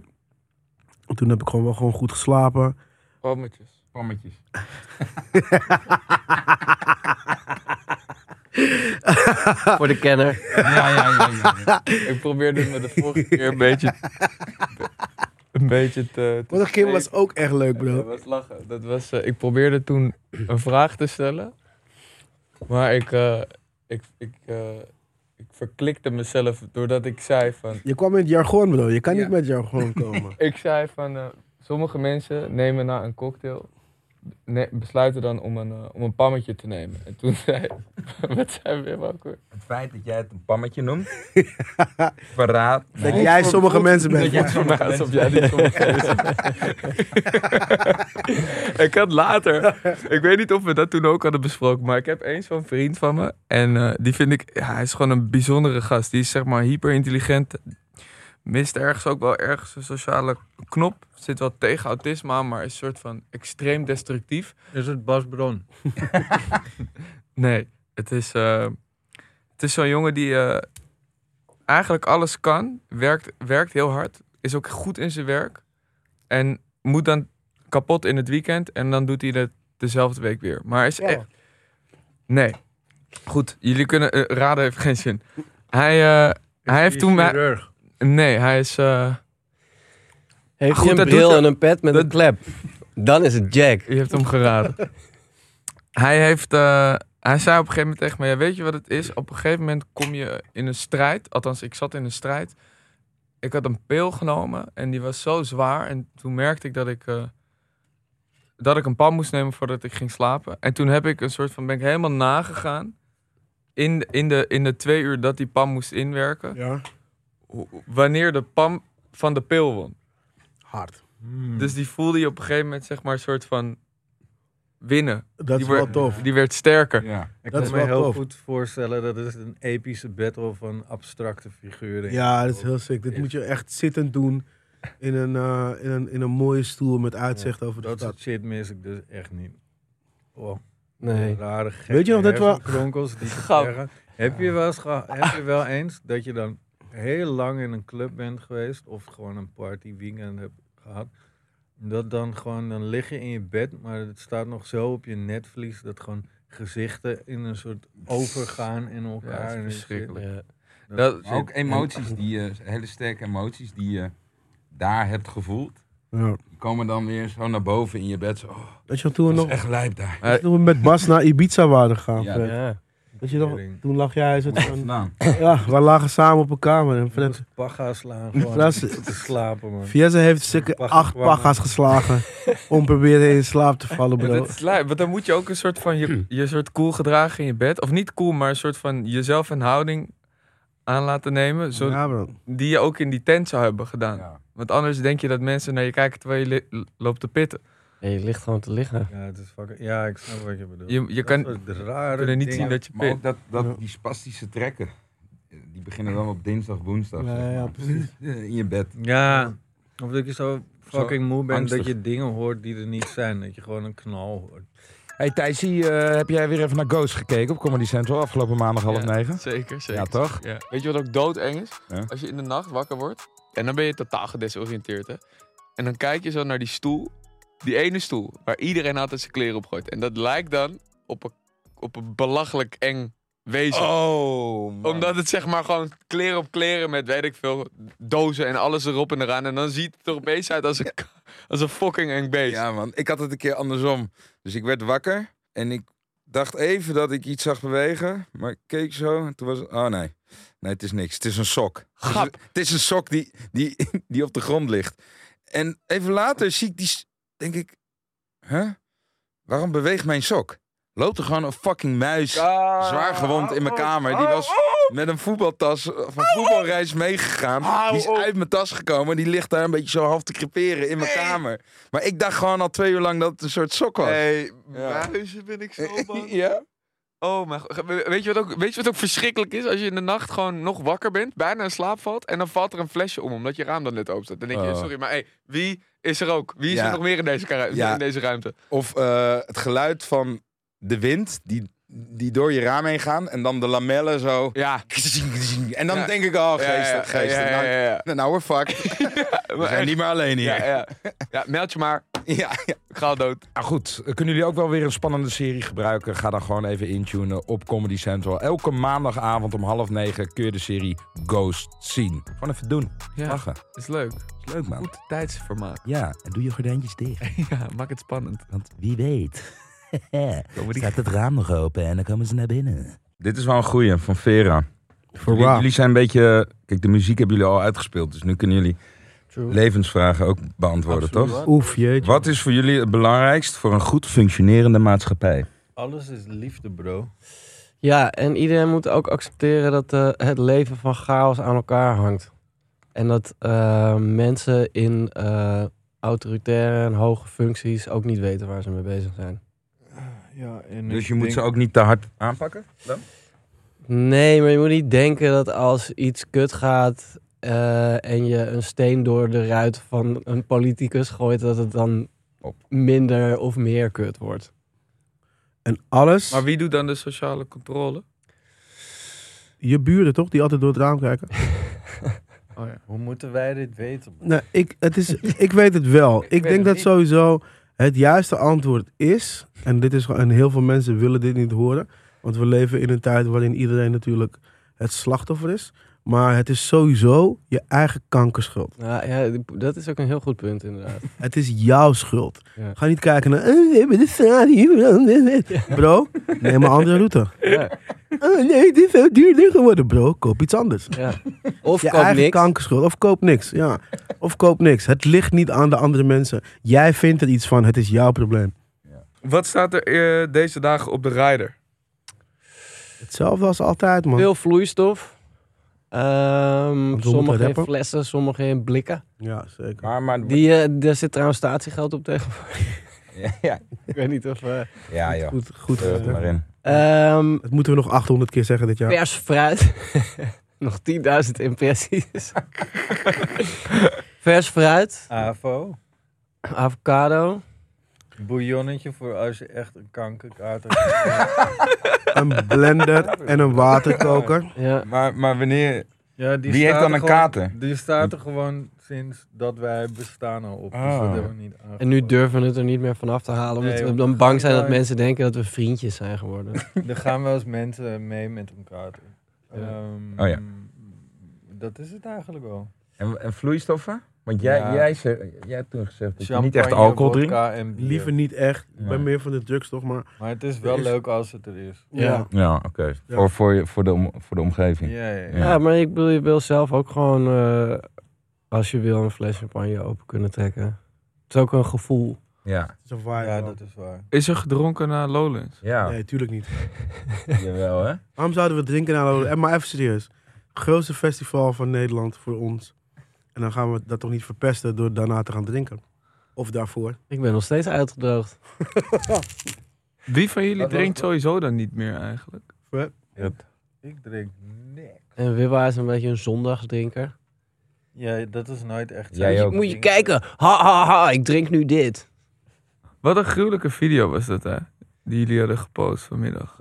S2: En toen heb ik gewoon wel gewoon goed geslapen.
S1: Palmetjes.
S6: Pammetjes.
S5: Voor de kenner.
S6: Ja, ja, ja. ja, ja.
S1: Ik probeerde me de vorige keer een beetje, een beetje te, te
S2: Wat Kim was ook echt leuk,
S1: Dat
S2: bro.
S1: was lachen. Dat was, eh, ik probeerde toen een vraag te stellen. Maar ik, eh, ik, ik, eh, ik verklikte mezelf doordat ik zei van...
S2: Je kwam met jargon, bro. Je kan
S1: Ja.
S2: niet met jargon komen.
S1: Ik zei van... eh, sommige mensen nemen na een cocktail... ne- besluiten dan om een, eh, om een pammetje te nemen. En toen zei... Wat zei Wim ook weer?
S6: Het feit dat jij het een pammetje noemt. Verraad.
S2: Dat jij sommige mensen
S6: Dat
S2: bent.
S6: jij sommige
S1: Ja, alsof
S6: mensen
S1: jij die soms ik had later, ik weet niet of we dat toen ook hadden besproken, maar ik heb eens zo'n vriend van me. En eh, die vind ik, ja, hij is gewoon een bijzondere gast. Die is zeg maar hyperintelligent. Mist ergens ook wel ergens een sociale knop. Zit wel tegen autisme aan, maar is een soort van extreem destructief.
S4: Is het Bas Bron?
S1: Nee, het is, eh, het is zo'n jongen die eh, eigenlijk alles kan. Werkt, werkt heel hard. Is ook goed in zijn werk. En moet dan kapot in het weekend. En dan doet hij het dezelfde week weer. Maar is echt... Nee. Goed, jullie kunnen... eh, raden heeft geen zin. Hij, eh, hij heeft toen... mij-
S4: Chirurg.
S1: Nee, hij is... eh,
S5: Heeft
S1: Goed,
S5: hij een
S1: dat doet
S5: bril
S1: er-
S5: en een pet met
S1: dat-
S5: een klep? Dan is het Jack.
S1: Je hebt hem geraden. hij, heeft, eh, hij zei op een gegeven moment tegen mij, ja, weet je wat het is? Op een gegeven moment kom je in een strijd. Althans, ik zat in een strijd. Ik had een pil genomen en die was zo zwaar. En toen merkte ik dat ik, eh, dat ik een pan moest nemen voordat ik ging slapen. En toen heb ik een soort van, ben ik helemaal nagegaan. In, de- in, de, in de twee uur dat die pan moest inwerken.
S2: Ja.
S1: ho- Wanneer de pan van de pil won.
S2: Hard.
S1: Dus die voelde je op een gegeven moment, zeg maar, een soort van winnen.
S2: Dat
S1: die
S2: is wel
S1: werd-
S2: tof.
S1: Die werd sterker.
S3: Ja.
S4: Ik
S2: Dat
S4: kan
S2: is
S4: me
S2: wel
S4: heel
S2: tof.
S4: goed voorstellen dat het een epische battle van abstracte figuren
S2: Ja, dat is heel sick. Dit moet je echt zittend doen in een, eh, in een, in een mooie stoel met uitzicht over de
S4: Dat
S2: stad.
S4: soort shit mis ik dus echt niet. Oh,
S5: Nee.
S4: rare gekke
S2: Weet je nog dat we-
S4: hersenkronkels die
S5: Grap.
S4: zeggen. Heb je wel eens geha- heb je
S2: Ah.
S4: wel eens dat je dan heel lang in een club bent geweest of gewoon een party weekend hebt gehad? Dat dan gewoon, dan lig je in je bed, maar het staat nog zo op je netvlies dat gewoon gezichten in een soort overgaan in elkaar.
S1: Ja, dat is
S4: en shit.
S1: verschrikkelijk.
S5: Ja.
S1: Dat,
S3: Maar ook emoties, die je, hele sterke emoties die je daar hebt gevoeld,
S2: Ja.
S3: die komen dan weer zo naar boven in je bed. Zo, oh,
S2: Dat je toen we
S3: dat
S2: nog
S3: is echt lijp daar.
S1: Eh,
S2: toen we met Bas naar Ibiza waren gegaan.
S3: Ja.
S2: Fred.
S5: Ja.
S2: Weet je nog,
S4: Tering.
S2: toen lag jij zo
S3: Wat is het
S2: van-
S3: vandaan?
S2: Ja, we lagen samen op een kamer. En Fred,
S4: Paga slaan gewoon
S2: Dat is-
S4: om te slapen man.
S2: Fiesse heeft zeker
S4: Pacha
S2: acht
S4: kwam, hè.
S2: paga's geslagen om proberen in slaap te vallen,
S1: Maar
S2: bro.
S1: dat is lijp, want dan moet je ook een soort van je, je soort cool gedragen in je bed. Of niet cool, maar een soort van jezelf een houding aan laten nemen. Zo,
S2: Ja, bro.
S1: Die je ook in die tent zou hebben gedaan.
S3: Ja.
S1: Want anders denk je dat mensen naar je kijken terwijl je li- loopt te pitten.
S5: Nee, je ligt gewoon te liggen.
S4: Ja, het is fucking, ja, ik snap wat je bedoelt.
S1: Je, je
S4: Dat
S1: kan
S4: soort rare
S1: kunnen niet
S4: dingen.
S1: zien dat je
S3: Maar
S1: pit.
S3: ook dat, dat,
S2: Ja.
S3: die spastische trekken, eh, die beginnen dan op dinsdag, woensdag.
S2: Ja,
S3: zeg
S2: ja,
S3: maar.
S2: precies.
S3: Eh, In je bed.
S4: Ja, of dat je zo fucking moe bent
S3: angstig.
S4: dat je dingen hoort die er niet zijn. Dat je gewoon een knal hoort.
S9: Hey Thijsie, eh, heb jij weer even naar Ghost gekeken op Comedy Central afgelopen maandag half
S1: Ja,
S9: negen?
S1: Zeker, zeker.
S9: Ja, toch?
S1: Ja. Weet je wat ook doodeng is?
S3: Ja.
S1: Als je in de nacht wakker wordt en dan ben je totaal gedesoriënteerd, hè? En dan kijk je zo naar die stoel, die ene stoel waar iedereen altijd zijn kleren op gooit. En dat lijkt dan op een, op een belachelijk eng wezen.
S3: Oh,
S1: Omdat het zeg maar gewoon kleren op kleren met weet ik veel dozen en alles erop en eraan. En dan ziet het er opeens uit als een, als een fucking eng beest.
S3: Ja, man. Ik had het een keer andersom. Dus ik werd wakker en ik dacht even dat ik iets zag bewegen. Maar ik keek zo en toen was het... Oh, nee. Nee, het is niks. Het is een sok.
S1: Grap.
S3: Het is, het is een sok die, die, die op de grond ligt. En even later zie ik die... s- Denk ik... Huh? Waarom beweegt mijn sok? Loopt er gewoon een fucking muis... Zwaar gewond in mijn kamer. Die
S1: Oh,
S3: was met een voetbaltas of een voetbalreis meegegaan. Die is uit mijn tas gekomen. Die ligt daar een beetje zo half te creperen in mijn kamer. Maar ik dacht gewoon al twee uur lang dat het een soort sok was.
S1: Hey,
S3: Ja. Eh,
S1: muizen ben ik zo bang.
S3: ja?
S1: Oh, mijn god. We- Weet je, wat ook, weet je wat ook verschrikkelijk is? Als je in de nacht gewoon nog wakker bent, bijna in slaap valt. en dan valt er een flesje om, omdat je raam dan net open staat. Dan denk je,
S3: Oh.
S1: sorry, maar hey, wie is er ook? Wie is
S3: Ja.
S1: er nog meer in deze, kara-
S3: Ja.
S1: in deze ruimte?
S3: Of eh, het geluid van de wind die, die door je raam heen gaan. En dan de lamellen zo.
S1: Ja.
S3: En dan
S1: Ja.
S3: denk ik, oh
S1: Ja, ja,
S3: geesten,
S1: ja,
S3: geesten.
S1: ja, ja, ja.
S3: Nou, nou we're fucked. We zijn niet meer alleen
S1: ja,
S3: hier.
S1: ja. ja, meld je maar.
S3: Ja, ja.
S1: Ik ga al dood.
S9: Nou goed, eh, kunnen jullie ook wel weer een spannende serie gebruiken? Ga dan gewoon even intunen op Comedy Central. Elke maandagavond om half negen kun je de serie Ghost zien. Gewoon even doen. Lachen.
S1: is leuk.
S9: Is leuk man.
S1: Goed tijdsformaat.
S9: Ja, en doe je gordijntjes dicht.
S1: Ja, maak het spannend.
S9: Want wie weet. Staat het raam nog open en dan komen ze naar binnen.
S3: Dit is wel een goeie van Vera.
S2: Voor
S3: Jullie,
S2: waar?
S3: jullie zijn een beetje. Kijk, de muziek hebben jullie al uitgespeeld. Dus nu kunnen jullie levensvragen ook beantwoorden, toch?
S2: Oef, jeetje.
S3: Wat is voor jullie het belangrijkst voor een goed functionerende maatschappij?
S4: Alles is liefde, bro.
S5: Ja, en iedereen moet ook accepteren dat eh, het leven van chaos aan elkaar hangt. En dat eh, mensen in eh, autoritaire en hoge functies ook niet weten waar ze mee bezig zijn.
S4: Ja, en
S3: Dus je moet ze ook niet te hard aanpakken?
S5: Nee, maar je moet niet denken dat als iets kut gaat eh, en je een steen door de ruit van een politicus gooit, dat het dan
S3: Op.
S5: minder of meer kut wordt.
S2: En alles,
S1: Maar wie doet dan de sociale controle?
S2: je buren toch, die altijd door het raam kijken?
S1: Oh ja.
S4: Hoe moeten wij dit weten?
S2: Nee, ik, het is, ik weet het wel. Ik denk
S1: het
S2: dat
S1: niet.
S2: sowieso het juiste antwoord is, en, dit is gewoon- en heel veel mensen willen dit niet horen, want we leven in een tijd waarin iedereen natuurlijk het slachtoffer is. Maar het is sowieso je eigen kankerschuld.
S5: Nou, ja, dat is ook een heel goed punt inderdaad.
S2: Het is jouw schuld.
S5: Ja.
S2: Ga niet kijken naar. eh, we hebben de straat hier. Bro, neem een andere route.
S5: ja,
S2: Oh nee, dit is zo duurder geworden, bro. Koop iets anders.
S5: ja. Of
S2: Je
S5: koop
S2: eigen
S5: niks.
S2: kankerschuld. Of koop niks. Ja. Of koop niks. Het ligt niet aan de andere mensen. Jij vindt er iets van. Het is jouw probleem.
S1: Wat staat er eh, deze dagen op de rider?
S2: Hetzelfde als altijd, man.
S5: Veel vloeistof. Ehm
S2: moeten
S5: sommige in
S2: rappen.
S5: flessen, sommige in blikken.
S2: Ja, zeker.
S3: Maar, maar,
S5: Die, eh, daar zit trouwens statiegeld op tegen.
S3: ja, ja,
S5: Ik weet niet of... eh,
S3: ja, joh.
S2: Goed, goed.
S3: Gooi het Eh, maar in.
S5: ehm,
S2: Dat moeten we nog 800 keer zeggen dit jaar.
S5: Vers fruit. Nog 10.000 impressies. Vers fruit.
S4: AVO.
S5: Avocado.
S4: Bouillonnetje voor als je echt een kankerkater hebt.
S2: Een blender en een waterkoker.
S5: Ja.
S3: Maar, maar wanneer...
S4: ja, die
S3: Wie heeft
S4: staat
S3: dan
S4: er
S3: een
S4: gewoon-
S3: kater?
S4: Die staat er gewoon sinds dat wij bestaan al op. Dus
S3: Ah.
S4: dat hebben we niet aangepakt.
S5: En nu durven we het er niet meer vanaf te halen. Omdat
S4: Nee,
S5: we dan
S4: want-
S5: bang zijn dat
S4: Ja.
S5: mensen denken dat we vriendjes zijn geworden.
S4: Er gaan wel eens mensen mee met een kater. Ehm,
S3: Oh ja.
S4: Dat is het eigenlijk wel.
S3: En, en vloeistoffen? Want jij,
S4: Ja.
S3: jij, ze- jij hebt toen gezegd dat je niet echt
S4: Champagne,
S3: alcohol drinkt.
S4: vodka en bier.
S2: Liever niet echt. Ik
S3: Nee.
S2: ben meer van de drugs toch, maar...
S4: Maar het is wel
S2: Er is-
S4: leuk als het er is.
S5: Ja.
S3: Ja, oké.
S2: Ja.
S3: Voor, voor, je- voor, de om- voor de omgeving.
S4: Ja, ja, ja.
S5: Ja, maar ik wil, je wil zelf ook gewoon, eh, als je wil, een fles champagne open kunnen trekken. Het is ook een gevoel.
S3: Ja.
S2: Het is een vibe,
S4: Ja,
S2: man.
S4: dat is waar.
S1: Is er gedronken naar Lowlands?
S3: Ja,
S2: Nee, tuurlijk niet.
S3: jawel hè.
S2: Waarom zouden we drinken naar Lowlands? Eh, Maar even serieus. Grootste festival van Nederland voor ons. En dan gaan we dat toch niet verpesten door daarna te gaan drinken. Of daarvoor.
S5: Ik ben nog steeds uitgedroogd.
S1: Wie van jullie
S4: Dat was
S1: drinkt
S4: wel-
S1: sowieso dan niet meer eigenlijk?
S4: Ik drink niks.
S5: En Wibba is een beetje een zondagsdrinker.
S4: Ja, dat is nooit echt.
S3: Jij ook.
S5: Moet je kijken. Ha, ha, ha. Ik drink nu dit.
S1: Wat een gruwelijke video was dat hè? Die jullie hadden gepost vanmiddag.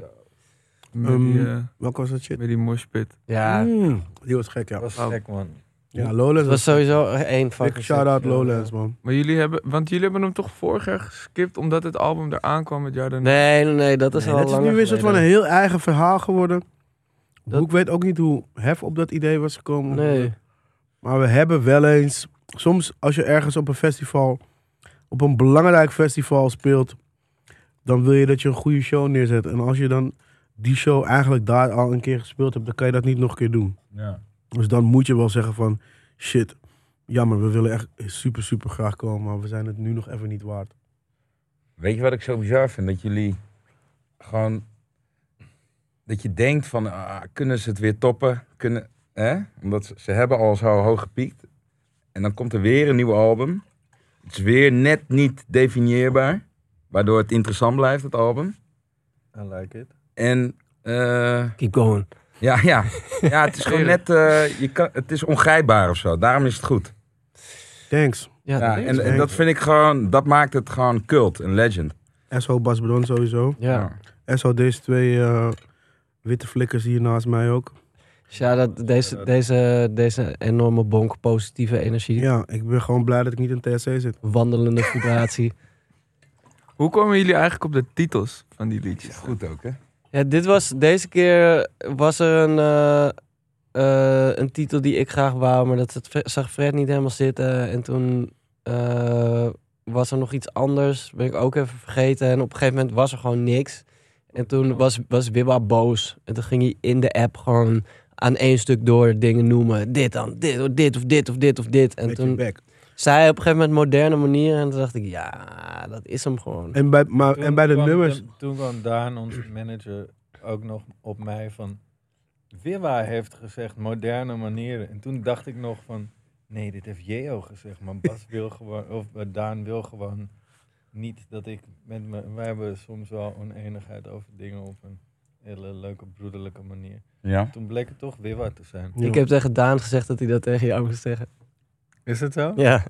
S1: Met, die,
S2: Ehm,
S1: eh,
S2: Welke was dat shit?
S1: met die moshpit.
S5: Ja.
S2: Mm, die was gek,
S4: Dat
S2: ja.
S4: was gek, man.
S2: Ja, Lowlands.
S5: Het was sowieso één van.
S2: Big shout-out Lowlands, man.
S1: Maar jullie hebben, want jullie hebben hem toch vorig jaar geskipt omdat het album eraan kwam het jaar daarna.
S5: Nee, nee, nee, dat is
S2: Nee,
S5: al
S2: dat is
S5: langer
S2: nu weer een soort van een
S5: geleden.
S2: heel eigen verhaal geworden.
S5: Dat-
S2: Boek weet ook niet hoe hef op dat idee was gekomen.
S5: Nee.
S2: Maar we hebben wel eens... Soms als je ergens op een festival... Op een belangrijk festival speelt... Dan wil je dat je een goede show neerzet. En als je dan die show eigenlijk daar al een keer gespeeld hebt... Dan kan je dat niet nog een keer doen.
S3: Ja.
S2: Dus dan moet je wel zeggen van... Shit, jammer, we willen echt super, super graag komen. Maar we zijn het nu nog even niet waard.
S3: Weet je wat ik zo bizar vind? Dat jullie gewoon... Dat je denkt van, ah, kunnen ze het weer toppen? Kunnen, hè? Omdat ze, ze hebben al zo hoog gepiekt. En dan komt er weer een nieuw album. Het is weer net niet definieerbaar. Waardoor het interessant blijft, het album.
S4: I like it.
S3: En eh,
S5: Keep going.
S3: ja, ja. ja, het is gewoon net... eh, je kan, het is ongrijpbaar of zo. Daarom is het goed.
S2: Thanks.
S5: Ja,
S3: Ja,
S5: dat is-
S3: en, en dat vind ik gewoon, dat maakt het gewoon cult, een legend.
S2: SO Bas Bron sowieso.
S5: ja.
S2: SO deze twee eh, witte flikkers hier naast mij ook.
S5: ja dat, deze, deze, deze enorme bonk positieve energie.
S2: Ja, ik ben gewoon blij dat ik niet in TSC zit.
S5: Wandelende vibratie.
S1: Hoe komen jullie eigenlijk op de titels van die liedjes?
S3: Goed ook, hè?
S5: Ja, dit was, deze keer was er een, eh, eh, een titel die ik graag wou, maar dat het, Fre- zag Fred niet helemaal zitten. En toen eh, was er nog iets anders, ben ik ook even vergeten. En op een gegeven moment was er gewoon niks. En toen was, was Wibba boos. En toen ging hij in de app gewoon aan één stuk door dingen noemen. Dit dan, dit of dit of dit of dit of dit. En
S2: Met je
S5: toen
S2: bek.
S5: zei hij op een gegeven moment moderne manieren. En toen dacht ik, ja, dat is hem gewoon.
S2: En bij, maar,
S4: Toen
S2: en bij de
S4: kwam-
S2: nummers.
S4: Toen, toen kwam Daan, onze manager, ook nog op mij van... Wibba heeft gezegd moderne manieren. En toen dacht ik nog van... Nee, dit heeft Jeo gezegd. Maar Bas wil gewoon... Of eh, Daan wil gewoon niet dat ik... Met me, wij hebben soms wel oneenigheid over dingen op een hele leuke broederlijke manier.
S3: Ja.
S4: Toen bleek het toch Wibba te zijn.
S2: Ja.
S5: Ik heb tegen Daan gezegd dat hij dat tegen jou moest zeggen.
S4: Is het zo?
S5: Ja.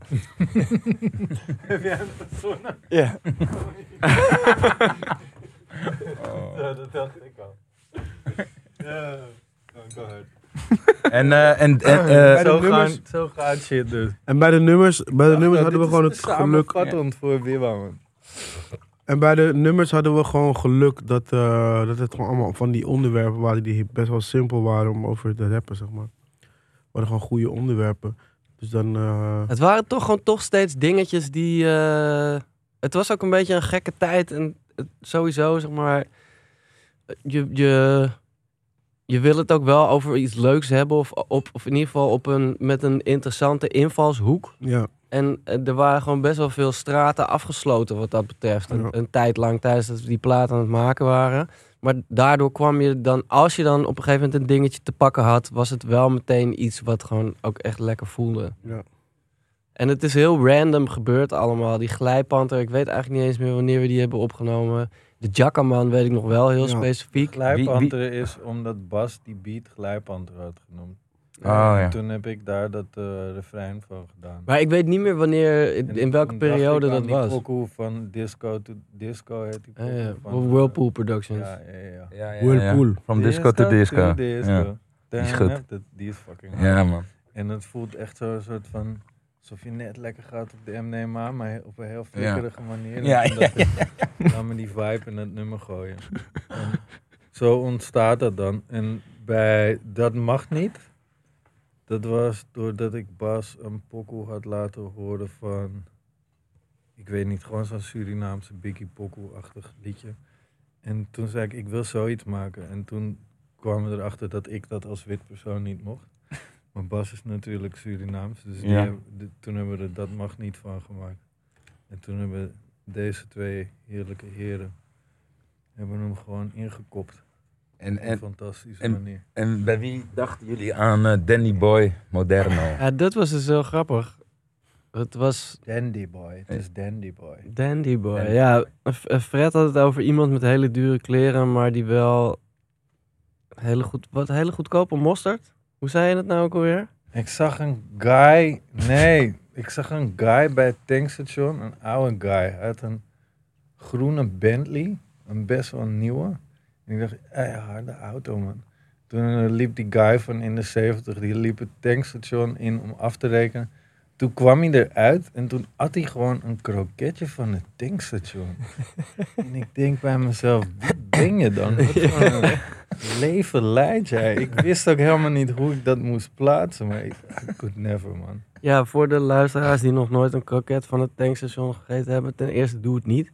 S4: Heb jij hem verzonnen?
S5: Ja.
S4: Ja, dat dacht ik al. Ja, Oh, dank u.
S3: En, eh, en, en, eh,
S2: Bij de
S4: zo,
S2: nummers-
S4: gaan, zo gaat shit dus.
S2: En bij de nummers, bij de nummers hadden we gewoon het geluk.
S4: samenvattend voor Wibba, man.
S2: En bij de nummers hadden we gewoon geluk dat, eh, dat het gewoon allemaal van die onderwerpen waren die best wel simpel waren om over te rappen, zeg maar. waren gewoon goede onderwerpen. Dus dan... eh,
S5: Het waren toch gewoon toch steeds dingetjes die... eh, het was ook een beetje een gekke tijd. En het- sowieso, zeg maar... Je, je, je wil het ook wel over iets leuks hebben. Of, op, of in ieder geval op een, met een interessante invalshoek.
S2: ja.
S5: En eh, er waren gewoon best wel veel straten afgesloten wat dat betreft. Een,
S2: Ja.
S5: een tijd lang tijdens dat we die plaat aan het maken waren. Maar daardoor kwam je dan, als je dan op een gegeven moment een dingetje te pakken had, was het wel meteen iets wat gewoon ook echt lekker voelde.
S2: Ja.
S5: En het is heel random gebeurd allemaal. Die glijpanter, ik weet eigenlijk niet eens meer wanneer we die hebben opgenomen. De Jackaman weet ik nog wel heel
S2: Ja.
S5: specifiek.
S4: Glijpanter is omdat Bas die beat Glijpanter had genoemd.
S2: Ah.
S3: Oh, ja.
S4: Toen heb ik daar dat eh refrein van gedaan.
S5: Eh, Maar ik weet niet meer wanneer, in,
S4: En
S5: in welke
S4: toen dacht
S5: periode
S4: ik aan
S5: dat was.
S4: Die pokoe van disco to disco heet die
S5: Ah,
S4: pokoe
S5: ja.
S4: van, eh,
S5: Whirlpool Productions.
S4: Ja, ja, ja.
S3: Ja, ja,
S2: Whirlpool.
S3: From disco to disco. Ja.
S4: disco.
S3: Die is
S4: Damn,
S3: goed.
S4: dat- Die is fucking hard.
S3: ja, man.
S4: En het voelt echt zo'n soort van... Alsof je net lekker gaat op de MDMA, maar op een heel flikkerige manier. En
S3: Ja,
S4: toen dacht ik, Laat me die vibe in dat nummer gooien. En zo ontstaat dat dan. En bij Dat Mag Niet... Dat was doordat ik Bas een pokoe had laten horen van... Ik weet niet, gewoon zo'n Surinaamse Biggie pokoe-achtig liedje. En toen zei ik, ik wil zoiets maken. En toen kwamen we erachter dat ik dat als wit persoon niet mocht. Maar Bas is natuurlijk Surinaams, dus die
S3: Ja.
S4: hebben- de- toen hebben we er dat mag niet van gemaakt. En toen hebben deze twee heerlijke heren hebben hem gewoon ingekopt.
S3: En,
S4: Op een
S3: en,
S4: fantastische
S3: en-
S4: manier.
S3: en bij wie dachten jullie aan eh, Danny Boy Moderno?
S5: Ja, dat was dus heel grappig. Het was
S4: Dandy boy, het is dandy boy.
S5: Dandy Boy.
S3: Dandy
S5: ja, F- eh, Fred had het over iemand met hele dure kleren, maar die wel hele goed, wat hele goedkope mosterd. Hoe zei je dat nou ook alweer?
S4: Ik zag een guy, nee, ik zag een guy bij het tankstation, een oude guy, uit een groene Bentley, een best wel nieuwe. En ik dacht, hé, harde auto man. Toen eh, liep die guy van in de 70, die liep het tankstation in om af te rekenen. Toen kwam hij eruit en toen at hij gewoon een kroketje van het tankstation. en ik denk bij mezelf, wat ben je dan? Wat voor een leven leidt jij? Ik wist ook helemaal niet hoe ik dat moest plaatsen, maar ik I could never, man.
S5: Ja, voor de luisteraars die nog nooit een kroket van het tankstation gegeten hebben. Ten eerste, doe het niet.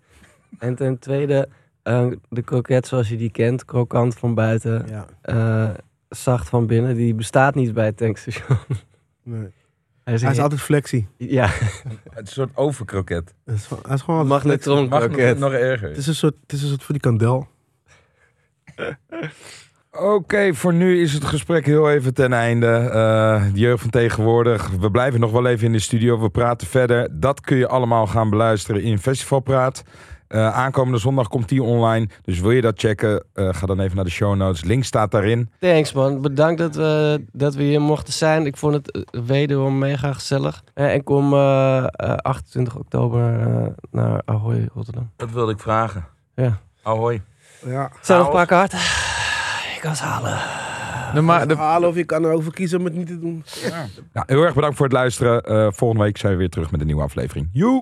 S5: En ten tweede, eh, de kroket zoals je die kent, krokant van buiten,
S2: ja.
S5: eh, zacht van binnen, die bestaat niet bij het tankstation.
S2: Nee.
S5: Hij is,
S2: Hij is
S5: een-
S2: altijd flexie.
S5: Ja,
S3: Een soort overkroket.
S2: Hij is, hij is gewoon altijd flexie.
S5: magnetron
S3: Mag nog,
S5: kroket.
S3: nog erger.
S2: Het is een soort, het is een soort frikandel.
S3: Oké, voor nu is het gesprek heel even ten einde. Eh, de jeugd van tegenwoordig. We blijven nog wel even in de studio. We praten verder. Dat kun je allemaal gaan beluisteren in Festivalpraat. Eh, aankomende zondag komt die online. Dus wil je dat checken, eh, ga dan even naar de show notes. Link staat daarin.
S5: Thanks man, bedankt dat we, dat we hier mochten zijn. Ik vond het eh, wederom mega gezellig. Eh, En kom eh, eh, 28 oktober eh, naar Ahoy Rotterdam.
S3: Dat wilde ik vragen.
S5: Ja.
S3: Ahoy.
S2: Ja.
S5: Zijn er nog een paar kaarten? Ik kan ze halen.
S1: De ma- de-
S2: Halen of je kan erover kiezen om het niet te doen.
S3: Nou, heel erg bedankt voor het luisteren. Eh, volgende week zijn we weer terug met een nieuwe aflevering. Joe!